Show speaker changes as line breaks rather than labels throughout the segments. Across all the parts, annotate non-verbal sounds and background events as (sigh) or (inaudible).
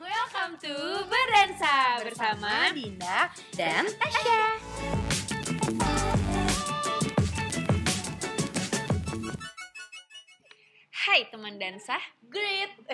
Welcome to Berensa bersama
Dinda
dan Tasya. Hai teman dansa.
Great.
(laughs)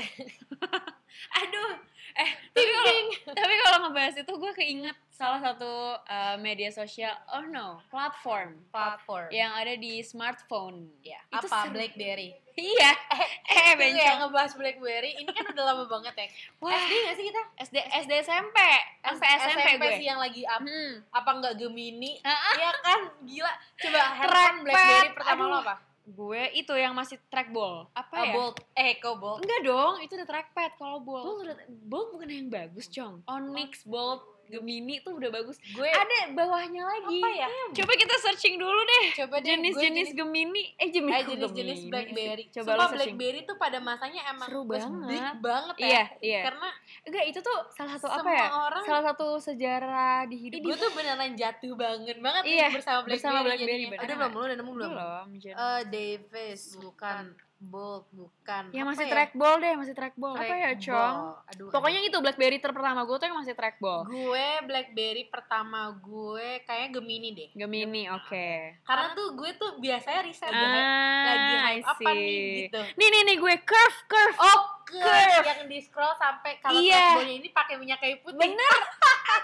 Aduh, eh tapi kalau (laughs) tapi kalau ngebahas itu gue keinget salah satu eh, media sosial, oh no, platform
Platform.
yang ada di smartphone. Ya. Itu
Apa
seru.
BlackBerry?
(laughs) Iya. (laughs) Eh,
Itu ya. yang
bencong.
ngebahas BlackBerry. Ini kan udah lama banget ya.
Wah.
SD nggak sih kita?
SD SD SMP, SMP SMP gue.
sih ya. yang lagi up.
Hmm.
Apa nggak Gemini?
Ah, ah.
Iya kan? Gila. Coba handphone
Trackpad.
BlackBerry pertama
Aduh.
lo apa?
Gue itu yang masih trackball. Apa
Eh,
ya?
Bolt. Eh, kok Bolt?
Enggak dong, itu udah trackpad kalau bolt.
Bolt
bolt bukan yang bagus, Cong. Onyx, Bolt, Gemini tuh udah bagus.
Gue
Ada bawahnya lagi.
Apa ya?
Coba kita searching dulu deh.
coba deh, gue
Jenis-jenis Gemini. Eh, Gemini.
Eh,
kok Gemini
jenis-jenis
sih?
BlackBerry.
Coba
Sumpah
lu searching.
BlackBerry tuh pada masanya emang
Seru
was
banget.
big banget ya.
Iya, iya.
Karena
Enggak, itu tuh salah satu apa
Semua
ya?
orang-
Salah satu sejarah di hidup
gue tuh beneran jatuh banget banget nih
Iya,
bersama BlackBerry.
bersama BlackBerry,
jadinya.
bener
Aduh,
nggak?
belum, lu udah nemu belum?
belum. Jen.
Eh, Davis bukan Bolt bukan.
ya
Apa
masih trackball deh, masih trackball. apa ya,
Trackball.
Cong?
Aduh.
Pokoknya itu BlackBerry terpertama gue tuh yang masih trackball.
gue BlackBerry pertama gue kayaknya Gemini deh.
Gemini, oke.
Karena tuh gue tuh biasanya riset banget. lagi
Ah,
hype apa nih gitu.
Nih nih nih gue curve curve.
Oh, curve yang di scroll sampai kalau
Iya.
trackballnya ini pakai minyak kayu putih.
Bener.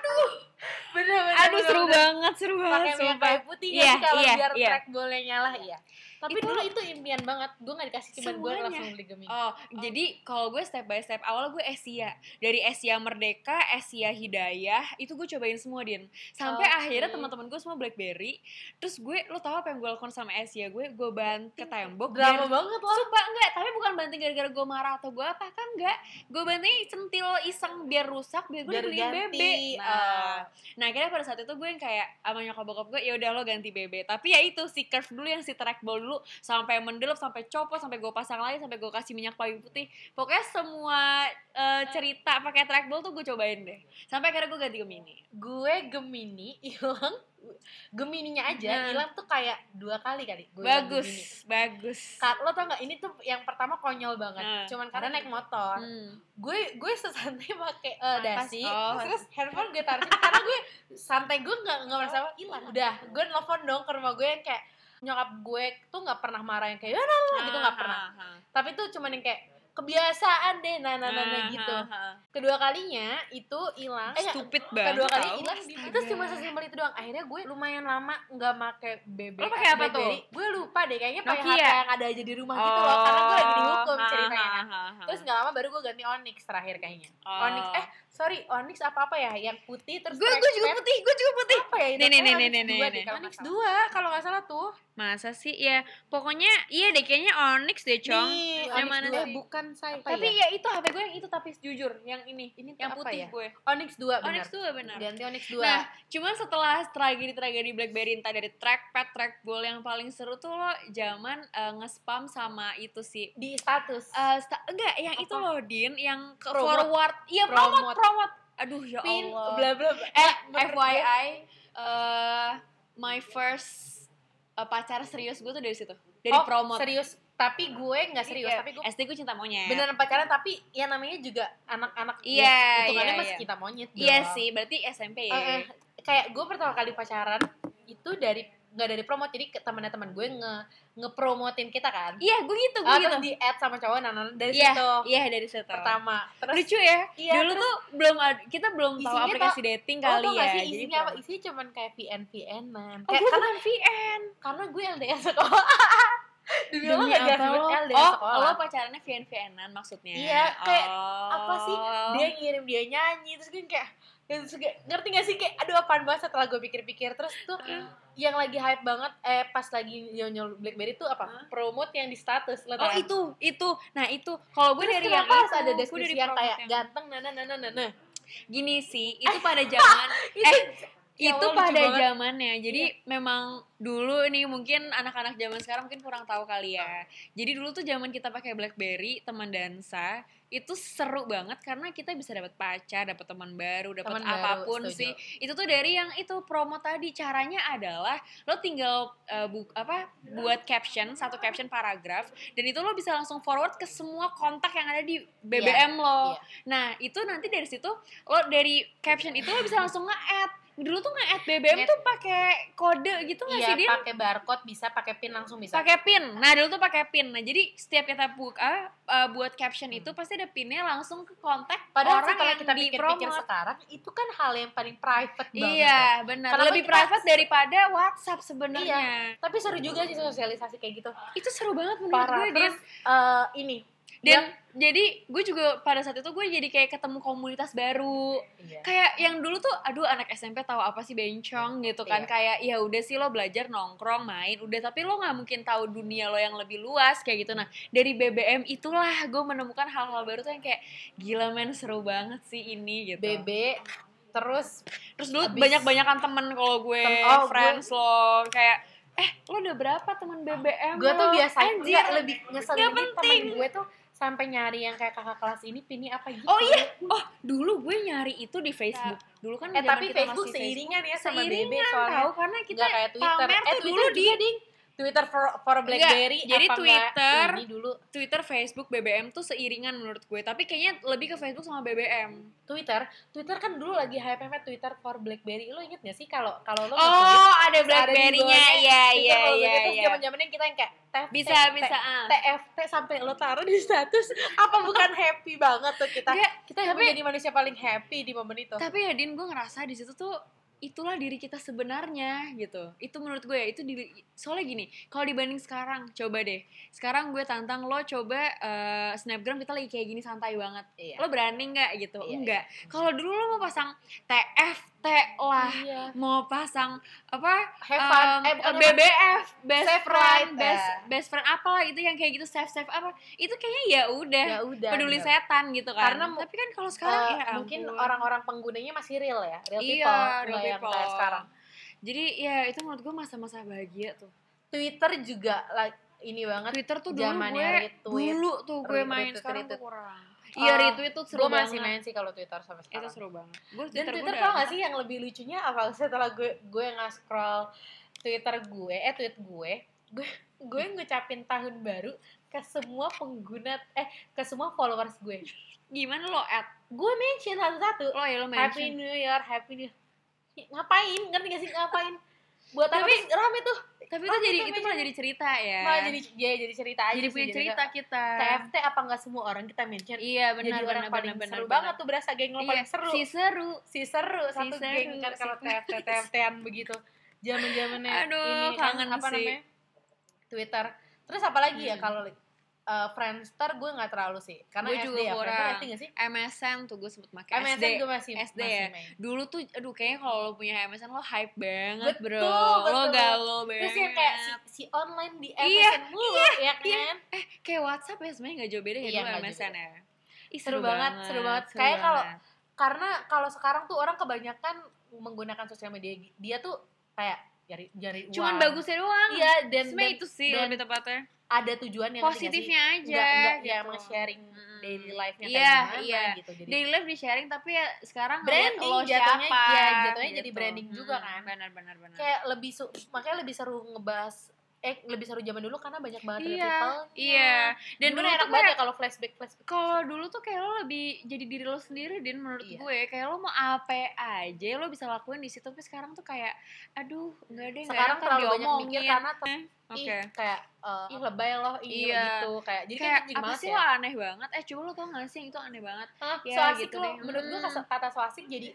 bener bener.
Aduh
bener,
seru
bener.
banget, seru
Pakai
banget
minyak
sumpah.
kayu putih
Iya,
jadi kalau
iya,
biar
iya.
trackballnya nyala ya. Tapi
Itu-
dulu itu impian banget. Gue gak dikasih cuman gue
Semuanya.
langsung beli Gemini.
Oh, jadi kalau gue step by step awal gue Asia. Dari Asia Merdeka, Asia Hidayah, itu gue cobain semua, Din. Sampai
Oke.
akhirnya teman-teman gue semua BlackBerry. Terus gue lo tau apa yang gue lakukan sama Asia gue? Gue banting ke tembok
Drama
biar-
banget loh.
Sumpah enggak, tapi bukan banting gara-gara gue marah atau gue apa kan enggak. Gue banting centil iseng biar rusak biar gue
Biar
dibeliin
ganti.
bebek.
Nah.
Nah. nah, akhirnya pada saat itu gue yang kayak sama nyokap bokap gue, ya udah lo ganti bebek. Tapi ya itu si curve dulu yang si trackball dulu sampai mendelep, sampai copot, sampai gue pasang lagi, sampai gue kasih minyak kayu putih. Pokoknya semua eh, cerita pakai trackball tuh gue cobain deh. Sampai akhirnya gue ganti ke mini.
gue Gemini hilang Gemininya
Nah.
aja hilang tuh kayak dua kali kali gue hilang Gemini.
Bagus, bagus.
Kar- lo tau gak ini tuh yang pertama konyol banget
Nah.
cuman karena naik motor
Hmm.
gue gue sesantai pakai eh,
Pas-
dasi
oh.
terus handphone gue taruh situ karena gue santai gue nggak nggak merasa
Oh,
apa hilang
iya.
udah gue nelfon dong ke rumah gue yang kayak nyokap gue tuh nggak pernah marah yang kayak "Ya, nah, nah," gitu nggak pernah
Ah, ah,
tapi tuh cuman yang kayak kebiasaan deh nah nah nah, nah,
ah,
gitu
ah, ah.
kedua kalinya itu hilang eh,
Stupid banget.
kedua kali
tau.
hilang
Astaga.
terus cuma sesimpel itu doang akhirnya gue lumayan lama nggak make BB
Lo pakai apa
BlackBerry. gue lupa deh kayaknya pakai
Nokia?
HP yang ada aja di rumah gitu loh karena gue lagi dihukum
Oh,
ceritanya
ha,
kan.
ha, ha.
terus nggak lama baru gue ganti Onyx terakhir kayaknya
Oh.
Onyx eh sorry Onyx apa apa ya yang putih terus
gue gue juga
trackpad.
putih, gue juga putih.
apa ya itu
Nih, nih, nih,
Kayaknya
nih,
Onyx
nih, nih. Onyx
dua deh kalau nggak salah. dua kalau nggak salah tuh
Masa sih? Ya, pokoknya iya deh kayaknya Onyx deh, Cong.
nih
yang
Onyx
mana
dua
sih?
bukan saya
tapi ya? itu HP gue yang itu tapi jujur yang ini,
Ini tuh
yang
apa
putih
ya?
gue.
Onyx dua
Onyx
benar
tuh benar.
ganti Onyx dua
Nah, cuman setelah tragedi-tragedi BlackBerry entah dari trackpad, trackball yang paling seru tuh lo zaman eh, nge-spam sama itu sih
di status
Eh, sta- enggak, yang itu
Apa?
loh Din, yang ke
Promote.
forward. Iya, promote,
Promote.
promote. Aduh ya
pin
Allah.
bla bla bla.
Eh,
Menurut
FYI, eh my first eh, pacar serius gue tuh dari situ, dari
Oh,
promote.
serius tapi gue nggak serius
Iya,
tapi gue
SD gue cinta monyet.
beneran pacaran tapi ya namanya juga anak-anak
Iya,
ya, hitungannya
iya,
masih
iya.
kita monyet dong.
Iya sih, berarti SMP ya.
Eh, eh, kayak gue pertama kali pacaran itu dari nggak dari promote jadi ke teman teman gue nge ngepromotin kita kan
Iya, gue gitu, gue
Ah,
gitu.
terus di add sama cowok nah, nah, nah, dari
Iya,
situ
iya dari situ.
pertama terus
Lucu ya.
Iya,
Dulu tuh belum ad- kita belum tahu
Isinya
aplikasi dating kali
lo tau
ya.
gak sih
jadi
isinya apa
belum.
isinya cuman kayak VN VN man
Oh,
kayak,
gue
karena
bukan VN.
karena gue LDR sekolah demi lo
Demi
gak jelas
apa lo?
banget LDR
Oh,
sekolah
lo pacarannya VN VNan maksudnya.
Iya, kayak
Oh.
apa sih dia ngirim dia nyanyi terus gue kayak dan terus kayak- ngerti gak sih kayak aduh apaan banget setelah gue pikir-pikir terus tuh yang lagi hype banget eh pas lagi nyonyol BlackBerry tuh apa
Hah?
promote yang di status lo
Oh
tau.
itu, itu. Nah itu, kalau gue
iya. Terus
dari yang
kenapa
itu,
harus ada
gue
deskripsi
dari
yang
promote
kayak
yang- nah,
ganteng nana nana nana
gini sih itu pada (laughs) zaman eh
Ya
itu
Allah, lucu
pada
banget. Iya.
zamannya jadi memang dulu nih mungkin anak-anak zaman sekarang mungkin kurang tahu kali ya jadi dulu tuh zaman kita pakai BlackBerry teman dansa itu seru banget karena kita bisa dapat pacar, dapat teman baru, dapat
Teman baru,
apapun
setuju.
sih. Itu tuh dari yang itu promo tadi caranya adalah lo tinggal eh, bu- apa buat caption, satu caption paragraf dan itu lo bisa langsung forward ke semua kontak yang ada di BBM lo.
iya.
Nah, itu nanti dari situ lo dari caption itu lo bisa langsung nge-add. Dulu tuh nge-add BBM
Nge-add.
tuh pakai kode gitu nggak sih,
Iya,
Din?
pakai barcode bisa, pakai pin langsung bisa.
pakai pin nah dulu tuh pakai pin nah jadi setiap kita buka uh, buat caption itu pasti ada pinnya langsung ke kontak
Padahal
orang
setelah
yang
kita
di
pikir-pikir sekarang, itu kan hal yang paling private banget.
iya
ya.
benar
Kenapa
lebih
kita- Iya.
private daripada WhatsApp sebenarnya
Tapi seru juga sih sosialisasi kayak gitu.
itu seru banget menurut
Parah.
gue Din.
Terus eh, ini.
dan jadi gue juga pada saat itu gue jadi kayak ketemu komunitas baru
Iya.
kayak yang dulu tuh aduh anak SMP tahu apa sih bencong gitu kan
Iya.
kayak ya udah sih lo belajar nongkrong main udah tapi lo nggak mungkin tahu dunia lo yang lebih luas kayak gitu nah dari BBM itulah gue menemukan hal-hal baru tuh yang kayak gila men seru banget sih ini gitu
BB terus
terus dulu
Abis-
banyak-banyakan temen kalau gue
Tem- oh, gue-
friends lo kayak eh lo udah berapa temen BBM
gue tuh
lo? Eh,
biasanya
Anjir.
nggak lebih ngeselin
Nggak
ini
penting.
temen gue tuh sampai nyari yang kayak kakak kelas ini pini apa gitu
Oh iya, oh dulu gue nyari itu di Facebook. Dulu kan
eh
zaman
tapi
kita
Facebook
masih
seiringan ya sama
Seiringan
BB soalnya
tahu karena kita
nggak kayak Twitter
pamer
eh
tuh
Twitter
dulu
juga ding Twitter for, for BlackBerry
jadi
apa nggak
Twitter.
ini dulu
Twitter, Facebook, BBM tuh seiringan menurut gue. Tapi kayaknya lebih ke Facebook sama BBM.
Twitter Twitter kan dulu lagi hype hype Twitter for BlackBerry lo inget gak sih kalau kalau lo nge-tweet,
Oh, ada
terus ada di
BlackBerry-nya.
bawahnya
Iya, iya,
Twitter for
iya,
BlackBerry, terus
iya.
zaman-zamannya kita yang kayak tef,
Bisa,
tef,
bisa.
tef,
ah.
TFT sampai lo taruh di status apa bukan happy banget tuh kita
Nggak,
kita yang
tapi-
menjadi manusia paling happy di momen itu
Tapi ya Din, gue ngerasa di situ tuh itulah diri kita sebenarnya gitu. Itu menurut gue ya, itu diri soalnya gini, kalau dibanding sekarang, coba deh. Sekarang gue tantang lo coba eh, snapgram kita lagi kayak gini santai banget.
Iya.
Lo berani nggak gitu?
Iya,
Enggak. Kalau dulu lo mau pasang TFT lah,
Iya.
mau pasang apa
Have fun.
Um,
eh, bukan have fun.
BBF best
Save
friend
right,
best
eh.
best friend apalah itu yang kayak gitu save save apa itu kayaknya ya udah
Ya udah.
peduli
bener.
setan gitu kan
Karena mu-
tapi kan kalau sekarang
Eh,
ya
mungkin
ampun.
orang-orang penggunanya masih real ya, real
Iya,
people,
real
nggak yang
people.
kayak sekarang.
jadi ya itu menurut gue masa-masa bahagia tuh
Twitter juga like, ini banget.
Twitter tuh dulu
Zamannya
gue
retweet,
dulu tuh gue
retweet,
main
retweet,
sekarang tuh
retweet.
kurang
Oh,
iya retweet tuh seru
Gue
banget
masih main sih kalau Twitter sampai
itu
sekarang.
seru banget gue
Dan Twitter,
gue
tau
udah-
gak sih yang lebih lucunya apa? Setelah gue gue nge-scroll Twitter gue, eh tweet gue, gue gue ngucapin tahun baru ke semua pengguna eh ke semua followers gue.
gimana lo at
Gue mention satu-satu.
lo ya lo mention
Happy New Year, Happy New Year. Ngapain? Ngerti gak sih ngapain? Buat apa?
Tapi-
Tapi rame tuh.
tapi
Oh,
itu jadi
kita
itu malah
mention.
jadi cerita ya
Malah jadi ya, jadi cerita aja.
jadi
sih,
punya cerita
kayak,
kita
TFT apa nggak semua orang kita mention?
iya
jadi
benar
orang
benar
paling
benar benar
seru
benar.
banget tuh berasa geng lo
Iya,
paling seru.
si seru
Si, seru
si
satu
seru,
geng kan
si
kalau
seru. (laughs)
TFT TFT-an begitu. Zaman-zamannya
Aduh,
ini kan,
kangen
apa
sih.
namanya? Twitter. Terus apa lagi ya
Hmm.
kalau eh, Friendster gue nggak terlalu sih. Karena
Gue
SD
juga
ya, Friendster
kurang.
ngerti nggak sih?
MSN tuh gue sempet make
MSN
SD.
gue masih
SD
masih
ya.
main.
Dulu tuh aduh kayaknya kalau lo punya MSN lo hype banget, Bro.
Betul,
Lo
betul.
galau banget.
Terus yang kayak si, si online di MSN
Iya,
mulu ya kan?
iya. Kayak WhatsApp ya sebenarnya gak jauh beda ya
Iya,
dulu
nggak jauh
MSN ya. Ih,
Seru banget, seru banget. Kayak kalau- Karena kalau sekarang tuh orang kebanyakan menggunakan sosial media dia tuh kayak nyari nyari uang.
cuman bagusnya doang.
Iya dan,
Sebenarnya
dan
itu sih
dan- Iya,
lebih tepatnya.
ada tujuan yang
Positifnya aja.
Enggak, enggak ya
gitu.
emang sharing
Mm.
daily life-nya
Iya,
kayak gimana
iya.
gitu. Jadi
Daily life di sharing tapi ya sekarang ngeliat
Branding
lo
jatuhnya,
siapa. gitu.
iya, jatuhnya jadi branding juga kan.
Benar benar benar.
kayak lebih su- makanya lebih seru ngebahas eh lebih seru zaman dulu karena banyak banget
Iya,
real people.
iya. Dan
Dan
dulu
enak
tuh
banget
kayak
ya kalau flashback flashback.
kalau dulu tuh kayak lo lebih jadi diri lo sendiri din menurut
Iya.
gue kayak lo mau apa aja lo bisa lakuin di situ tapi sekarang tuh kayak aduh nggak deh nggak
Sekarang
enak
terlalu banyak
diomongin.
mikir karena tuh,
oke
ih, kayak eh, ih lebay loh ih gila
Iya.
gitu kayak jadi
kayak
kan
apa
banget
sih
ya.
lo aneh banget eh coba lo tau gak sih yang itu aneh banget
Hah,
Ya,
so asik
gitu
loh.
deh.
Menurut gua
Hmm.
kata, kata so asik jadi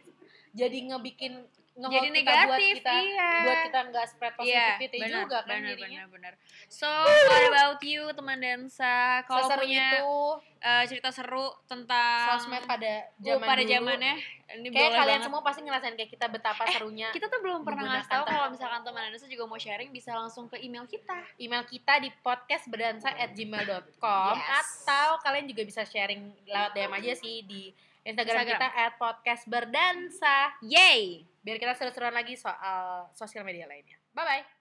jadi ngebikin nge-hold
jadi
kita buat
negatif
kita
iya
buat kita nggak spread positivity
Iya, benar,
juga kan
benar,
jadinya.
benar, benar. So, what about you teman dansa? Kalau
Seseru
punya
itu
eh, cerita seru tentang
sosmed pada
zaman uh,
zaman
pada
dulu.
zamannya ini
Kayak
boleh
kalian
banget. Eh,
semua pasti ngerasain kayak kita betapa serunya
kita tuh belum pernah ngasih
menggunakan
tahu kalau
tangan.
misalkan teman Anissa juga mau sharing bisa langsung ke email kita.
email kita di podcastberdansa@gmail.com
Yes.
atau kalian juga bisa sharing lewat DM aja sih di Instagram,
Instagram.
kita at podcastberdansa
Yay!
biar kita seru-seruan lagi soal sosial media lainnya. Bye bye.